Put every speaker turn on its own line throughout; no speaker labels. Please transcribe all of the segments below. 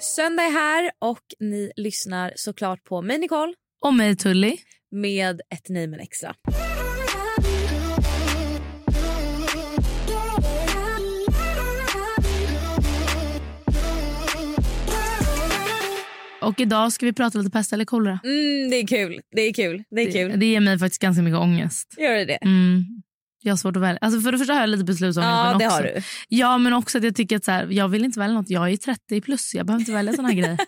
Söndag är här och ni lyssnar såklart på mig Nicole
Och mig Tully.
med ett nej men extra.
Och idag ska vi prata lite pest eller kolera.
Mm, det är kul, det är kul, det är kul.
Det, ger mig faktiskt ganska mycket ångest.
Gör det det?
Mm. Jag har svårt att välja. Alltså för det första har jag lite beslutsångest.
Ja
men
det
också,
har du.
Ja, men också att jag tycker att så här, jag vill inte välja något. Jag är 30 plus, jag behöver inte välja såna här grejer.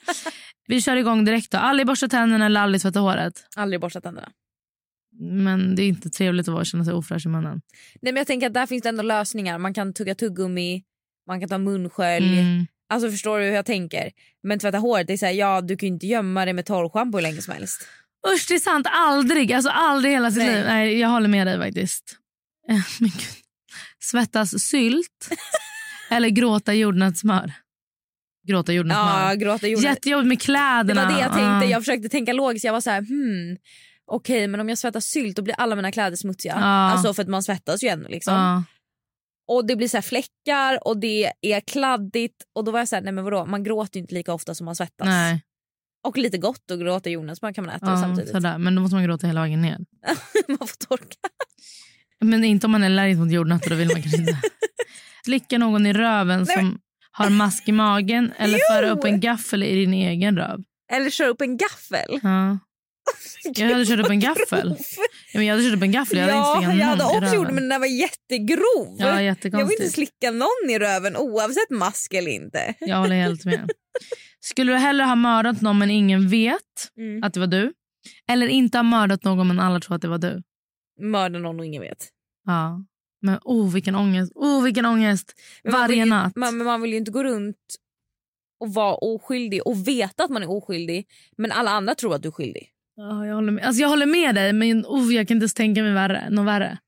Vi kör igång direkt då. Aldrig borsta tänderna eller aldrig tvätta håret.
Aldrig borstat tänderna.
Men det är inte trevligt att vara känna sig ofräsch i munnen.
Nej men jag tänker att där finns det ändå lösningar. Man kan tugga tuggummi, man kan ta munskölj.
Mm.
Alltså förstår du hur jag tänker? Men tvätta håret, det är så här, ja du kan ju inte gömma det med torrschampo hur länge som helst.
Usch, det är sant. Aldrig. Alltså aldrig i hela sitt
Nej.
liv. Nej, jag håller med dig faktiskt. Eh, Men gud. Svettas sylt eller gråta jordnötssmör? Gråta
Ja,
jordnötssmör.
gråta gjorde
Jättejobbigt med
Det
kläderna. Ah.
var det jag tänkte.
Ja.
Jag försökte tänka logiskt. Jag var så här, hmm. Okej, men om jag svettas sylt då blir alla mina kläder smutsiga.
Ja.
Alltså för att man svettas ju ändå liksom.
Ja.
Och det blir så här fläckar och det är kladdigt. Och då var jag så här, nej men vadå, man gråter ju inte lika ofta som man svettas.
Nej,
Och lite gott att gråta jordnötssmör kan man äta
ja,
samtidigt.
sådär. Men då måste man gråta hela vägen ner.
man får torka.
Men inte om man är allergisk mot jordnötter. Då vill man kanske inte. Slicka någon i röven
Nej,
som har mask i magen eller
Jo!
föra upp en gaffel i din egen röv.
Eller köra upp en gaffel.
Ja. Jag hade kört upp en gaffel. Ja, men jag hade kört upp en gaffel. Jag hade inte
ja,
slickat någon
jag hade
i
också
röven.
gjort det men den där var jättegrov.
Ja,
jag vill inte
jättekonstigt.
slicka någon i röven oavsett mask eller inte.
Jag håller helt med. Skulle du hellre ha mördat någon men ingen vet
Mm.
att det var du? Eller inte ha mördat någon men alla tror att det var du?
Mörda någon och ingen vet.
Ja. Men oh vilken ångest. Oh vilken ångest.
Men man
Varje
vill ju,
natt.
Man, men man vill ju inte gå runt och vara oskyldig och veta att man är oskyldig men alla andra tror att du är skyldig.
Ja, jag, håller med. Alltså, jag håller med dig men oh, jag kan inte ens tänka mig värre. något värre.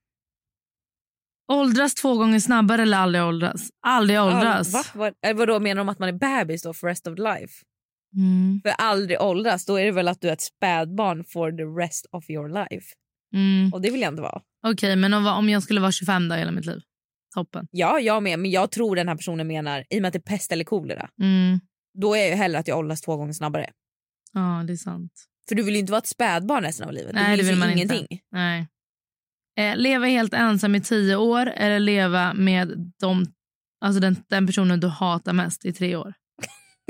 Åldras två gånger snabbare eller aldrig åldras? Aldrig åldras.
All, va? Vad, eller vadå, menar de att man är bebis då för rest of life?
Mm.
För aldrig åldras, då är det väl att du är ett spädbarn for the rest of your life.
Mm.
Och det vill jag inte vara.
Okej men om, om jag skulle vara 25 dagar hela mitt liv? Toppen.
Ja, jag med, men jag tror den här personen menar, i och med att det är pest eller kolera,
Mm.
då är jag ju hellre att jag åldras två gånger snabbare.
Ja det är sant.
För du vill ju inte vara ett spädbarn resten av livet.
Nej,
du
det
ju
vill man
ingenting.
Nej. Eh, leva helt ensam i tio år eller leva med de, alltså den, den personen du hatar mest i tre år?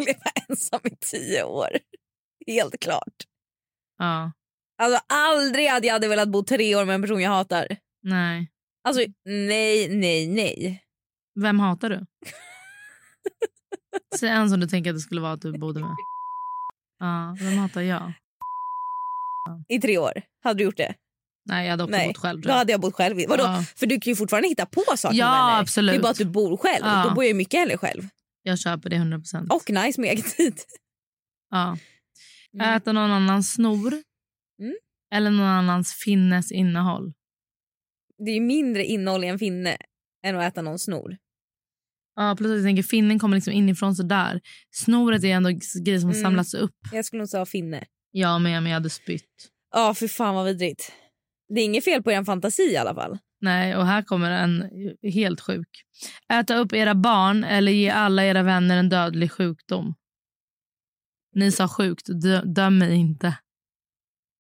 Leva ensam i tio år. Helt klart.
Ja.
Alltså aldrig hade jag hade velat bo tre år med en person jag hatar.
Nej.
Alltså
Mm.
nej, nej, nej.
Vem hatar du? Säg en som du tänker att det skulle vara att du bodde med. Ja, vem hatar jag?
I tre år. Hade du gjort det?
Nej, jag hade också
Nej,
bott själv.
Då
tror jag.
hade jag bott själv. Vadå?
Ja.
För du kan ju fortfarande hitta på saker
Ja,
med vänner.
absolut.
Det är bara att du bor själv.
Ja.
Då bor jag ju mycket hellre själv.
Jag köper det 100 procent.
Och nice med egen tid.
Ja. Äta någon annans snor
Mm.
eller någon annans finnes innehåll.
Det är ju mindre innehåll i en finne än att äta någon snor.
Ja, plus att jag tänker finnen kommer liksom inifrån så där. Snoret är ändå grejer som har
Mm.
samlats upp.
Jag skulle nog säga finne.
Ja, men jag, men jag hade spytt.
Ja, för fan vad vidrigt. Det är inget fel på er fantasi i alla fall.
Nej, och här kommer en helt sjuk. Äta upp era barn eller ge alla era vänner en dödlig sjukdom. Ni sa sjukt, dö, döm mig inte.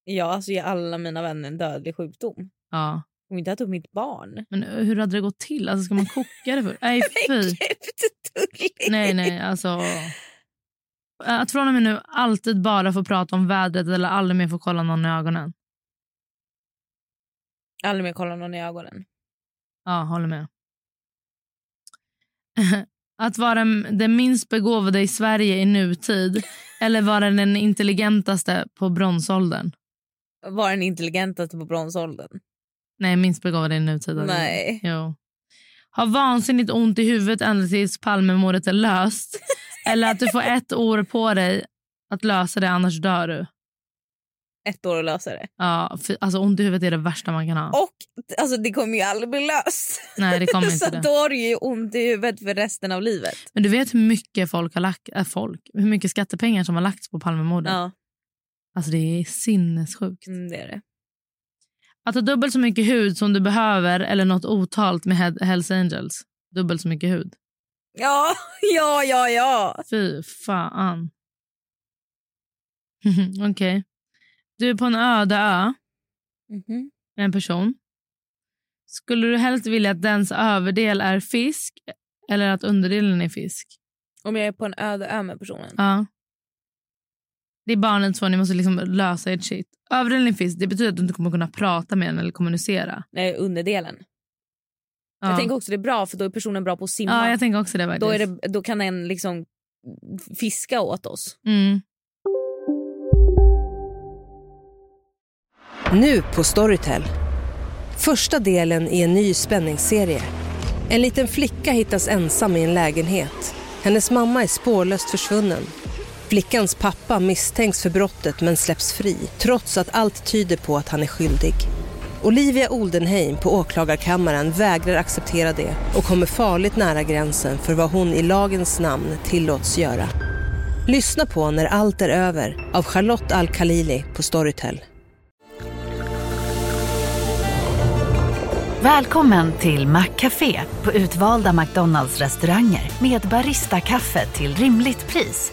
Ja, alltså ger alla mina vänner en dödlig sjukdom.
Ja.
Om inte äta upp mitt barn.
Men hur hade det gått till? Alltså, ska man koka det för? Nej, fy.
Gud, tulligt.
Nej, nej, alltså. Att från och med nu alltid bara få prata om vädret eller aldrig mer få kolla någon i ögonen.
Aldrig mer kolla någon i ögonen.
Ja, håller med. Att vara den minst begåvade i Sverige i nutid eller vara den intelligentaste på bronsåldern?
Var den intelligentaste på bronsåldern?
Nej, minst begåvade i nutid. eller?
Nej.
Jo. Ha vansinnigt ont i huvudet ända tills Palmemordet är löst. eller att du får ett år på dig att lösa det, annars dör du.
Ett år att lösa det.
Ja, för, alltså ont i huvudet är det värsta man kan ha.
Och alltså, det kommer ju aldrig bli löst.
Nej, det kommer
Så
inte det.
då har du ju ont i huvudet för resten av livet.
Men du vet hur mycket folk har lagt, äh, folk, hur mycket skattepengar som har lagts på Palmemordet?
Ja,
Alltså det är sinnessjukt.
mm, det är det.
Att ha dubbelt så mycket hud som du behöver eller något otalt med He- Hells Angels. Dubbelt så mycket hud.
Ja, ja, ja, ja.
Fy fan. Okej. Du är på en öde ö
Mhm.
med en person. Skulle du helst vilja att dens överdel är fisk eller att underdelen är fisk?
Om jag är på en öde ö med personen.
Ja. Det är barnet så ni måste liksom lösa ert shit. Överdelen är fisk. Det betyder att du inte kommer kunna prata med den eller kommunicera.
Nej, underdelen.
Ja.
Jag tänker också det är bra för då är personen bra på att simma.
ja, jag tänker också det faktiskt.
då, är det, då kan en liksom fiska åt oss.
Mm.
Nu på Storytel. Första delen i en ny spänningsserie. En liten flicka hittas ensam i en lägenhet. Hennes mamma är spårlöst försvunnen. Flickans pappa misstänks för brottet men släpps fri trots att allt tyder på att han är skyldig. Olivia Oldenheim på åklagarkammaren vägrar acceptera det och kommer farligt nära gränsen för vad hon i lagens namn tillåts göra. Lyssna på När allt är över av Charlotte Al-Khalili på Storytel.
Välkommen till Maccafé på utvalda McDonalds restauranger med Baristakaffe till rimligt pris.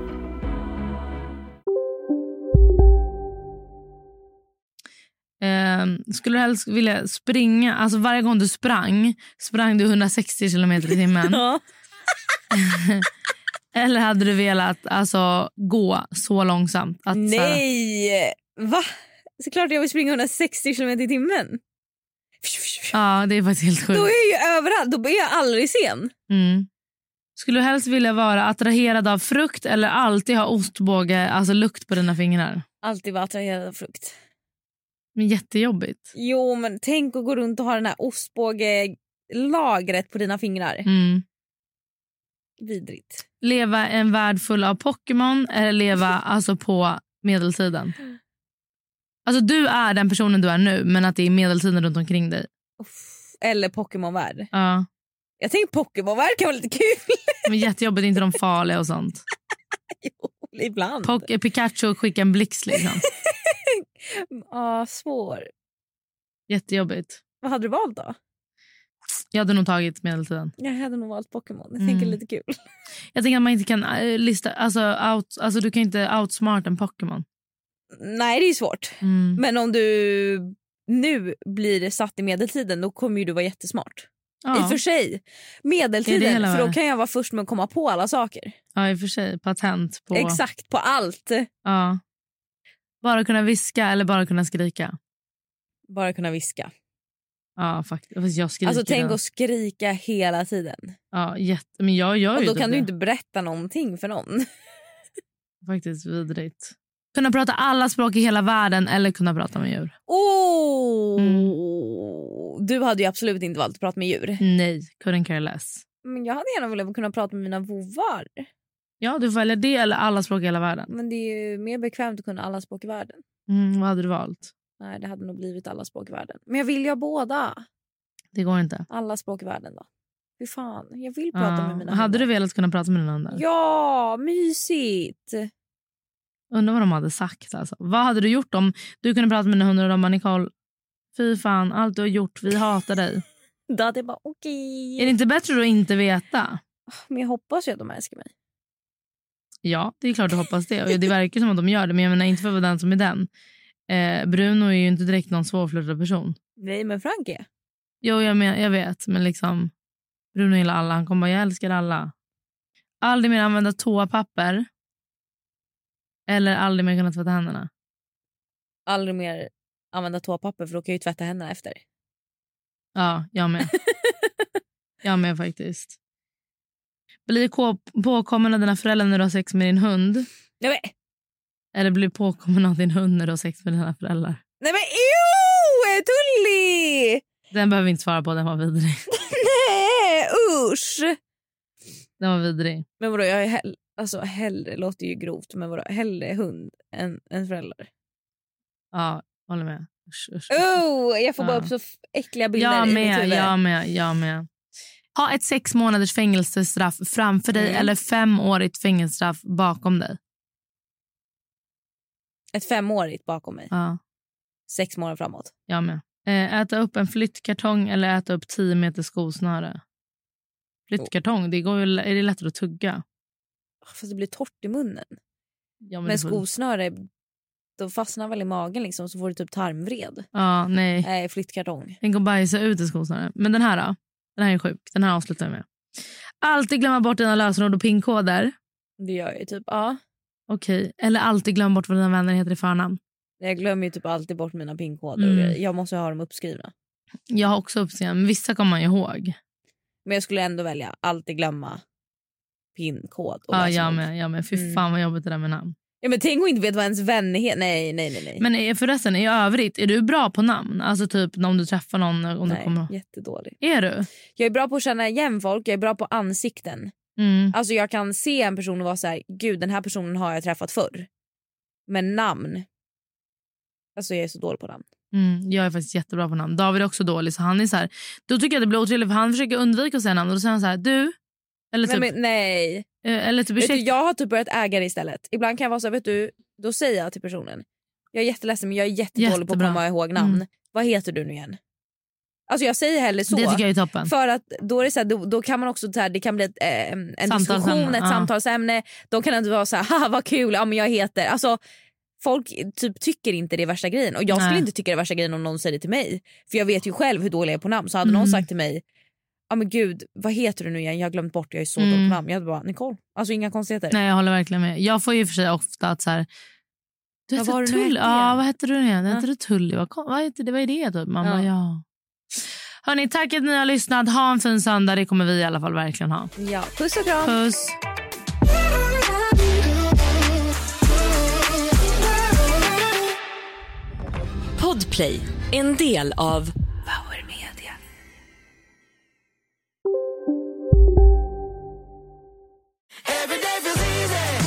Ehm, skulle du helst vilja springa, alltså varje gång du sprang, sprang du 160 km i timmen?
Ja.
Eller hade du velat alltså, gå så långsamt? Att, så här-
Nej! Va? Såklart jag vill springa 160 kilometer i timmen.
ja, det är faktiskt helt
Då
sjukt.
är jag ju överallt. Då är jag aldrig sen.
Mm. Skulle du helst vilja vara attraherad av frukt eller alltid ha ostbåge, alltså lukt på dina fingrar?
Alltid vara attraherad av frukt.
Men jättejobbigt.
Jo, men tänk att gå runt och ha den här ostbågelagret på dina fingrar.
Mm.
Vidrigt.
Leva en värld full av Pokémon eller leva alltså på medeltiden?
Mm.
Alltså du är den personen du är nu men att det är medeltiden runt omkring dig.
Uff. Eller Pokémonvärld.
Ja.
Jag tänker Pokémonvärld kan vara lite kul
Men jättejobbigt, inte de farliga och sånt.
ibland.
Poc- eh, Pikachu skickar en blixt liksom.
Ja, svår.
Jättejobbigt.
Vad hade du valt då?
Jag hade nog tagit medeltiden.
Jag hade nog valt Pokémon. Jag
Mm.
tänker lite kul.
Jag tänker att man inte kan eh, lista, alltså, out, alltså du kan inte outsmart en Pokémon.
Nej, det är ju svårt.
Mm.
Men om du nu blir satt i medeltiden då kommer ju du vara jättesmart. I och
Ja.
för sig,
Det är det
medeltiden,
hela
för då
världen.
kan jag vara först med att komma på alla saker.
ja, i och för sig. Patent på...
Exakt, på allt.
Ja. Bara kunna viska eller bara kunna skrika.
Bara kunna viska.
Ja, faktiskt. Fast jag skriker.
Alltså Tänk
den.
att skrika hela tiden.
ja, jätte... Men jag gör
Och
ju
då
typ
kan du
det.
inte berätta någonting för någon.
Faktiskt vidrigt. Kunna prata alla språk i hela världen eller kunna prata med djur.
Oh!
Mm.
Du hade ju absolut inte valt att prata med djur.
Nej, couldn't care less.
Men Jag hade gärna velat kunna prata med mina vovvar.
Ja, du får välja det eller alla språk i hela världen.
Men det är ju mer bekvämt att kunna alla språk i världen.
Mm, vad hade du valt?
Nej, det hade nog blivit alla språk i världen. Men jag vill ju ha båda.
Det går inte.
Alla språk i världen då. Fy fan, jag vill prata
Ja.
med mina
hade du
vänner.
velat kunna prata med dina andra?
Ja, mysigt!
Undrar vad de hade sagt. Alltså. Vad hade du gjort om du kunde prata med dina hundar och de bara Nicole, Fy fan, allt du har gjort. Vi hatar dig.
Då hade jag bara okej.
Är det inte bättre då att inte veta?
Men jag hoppas ju att de älskar mig.
Ja, det är klart du hoppas det. Och det verkar som att de gör det, men jag menar inte för att vara den som är den. Eh, Bruno är ju inte direkt någon svårflörtad person.
Nej men Frank är.
Jo, jag, men, jag vet, men liksom Bruno gillar alla. Han kommer bara, jag älskar alla. Aldrig mer använda toapapper. Eller aldrig mer kunna tvätta händerna.
Aldrig mer använda toapapper för då kan jag ju tvätta händerna efter.
Ja, jag med. jag med faktiskt. Bli på- påkommen av dina föräldrar när du har sex med din hund.
Nej men,
Eller bli påkommen av din hund när du har sex med dina föräldrar.
nej men ew! Tully!
Den behöver vi inte svara på, den var vidrig.
Nej usch!
Den var vidrig.
Men vadå jag är hell- alltså hellre, låter ju grovt men vadå hellre hund än, än föräldrar.
Ja, håller med. Usch, usch, usch.
Oh, jag får bara
Ja.
upp så f- äckliga bilder i
Jag
mitt
med,
huvud.
jag med, jag med. Ha ett sex månaders fängelsestraff framför dig
Mm.
eller femårigt fängelsestraff bakom dig.
Ett femårigt bakom mig.
Ja,
Sex månader framåt.
jag med. Eh, Äta upp en flyttkartong eller äta upp 10 meter skosnöre. Flyttkartong, det går ju, är det lättare att tugga?
Fast det blir torrt i munnen.
Ja,
Men,
det får-
skosnöre de fastnar väl i magen liksom så får du typ tarmvred.
Ja, nej.
Nej, flyttkartong.
Tänk att bajsa ut en skosnöre. Men den här då? Den här är sjuk. Den här avslutar vi med. Alltid glömma bort dina lösenord och pinkoder.
Det gör jag ju typ. Ja.
Okej. Eller alltid glömma bort vad dina vänner heter i förnamn.
Jag glömmer ju typ alltid bort mina pinkoder. och
Mm.
grejer. Jag måste ju ha dem uppskrivna.
Jag har också uppseende, men vissa kommer man ju ihåg.
Men jag skulle ändå välja alltid glömma pinkod. och
Ja,
lösenord.
jag med, jag med. Fy
Mm.
fan vad jobbigt det där med namn.
Ja, men tänk att inte veta vad ens vän heter. Nej, nej, nej. nej.
Men eh, förresten, i övrigt, är du bra på namn? Alltså typ om du träffar någon. eh, Om du
nej,
kommer...
jättedålig.
Är du?
Jag är bra på att känna igen folk. Jag är bra på ansikten.
Mm.
Alltså jag kan se en person och vara så här, gud den här personen har jag träffat förr. Men namn. Alltså jag är så dålig på namn.
Mm. Jag är faktiskt jättebra på namn. David är också dålig. Så han är så här... Då tycker jag att det blir otrevligt för han försöker undvika att säga namn. Och då säger han så här, du? Eller typ,
Nej, men, nej.
eh, eller typ
Vet
ursäkta.
du, jag har typ börjat äga det istället. Ibland kan jag vara så här, vet du, då säger jag till personen. Jag är jätteledsen men jag är jättedålig på att
Jättebra.
komma ihåg namn.
Mm.
Vad heter du nu igen? Alltså jag säger hellre så.
Det tycker jag är toppen.
För att då, är det så här, då, då kan man också så här, det kan bli ett, eh, en
Samtalsämne,
diskussion, ett
ja.
samtalsämne. De kan inte vara så här, haha vad kul, ja men jag heter. Alltså, folk typ tycker inte det är värsta grejen. Och jag skulle
Nej.
inte tycka det är värsta grejen om någon säger det till mig. För jag vet ju själv hur dålig jag är på namn. Så hade någon
Mm.
sagt till mig, ja men gud vad heter du nu igen? Jag har glömt bort, jag är så dålig
Mm.
på namn. Jag hade bara, Nicole. Alltså inga konstigheter.
Nej, jag håller verkligen med. Jag får ju för sig ofta att så här... Du
Vad
heter
var det du
Tully.
hette
Ja,
igen?
vad heter du nu igen?
Ja.
Heter du Tully? Vad, kom, vad, heter, det- vad är det? Typ? Man
Ja.
bara, ja. Hörni, tack att ni har lyssnat. Ha en fin söndag. Det kommer vi i alla fall verkligen ha.
Ja, puss och kram.
Puss!
Podplay, en del av Power Media.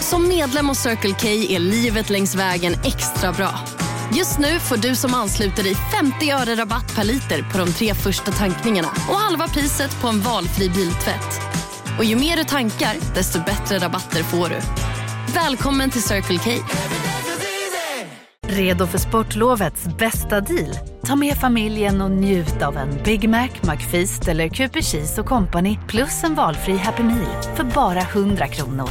Som medlem hos Circle K är livet längs vägen extra bra. Just nu får du som ansluter dig 50 öre rabatt per liter på de tre första tankningarna och halva priset på en valfri biltvätt. Och ju mer du tankar, desto bättre rabatter får du. Välkommen till Circle K.
Redo för sportlovets bästa deal? Ta med familjen och njut av en Big Mac, McFeast eller Cooper Cheese och Company plus en valfri Happy Meal för bara 100 kronor.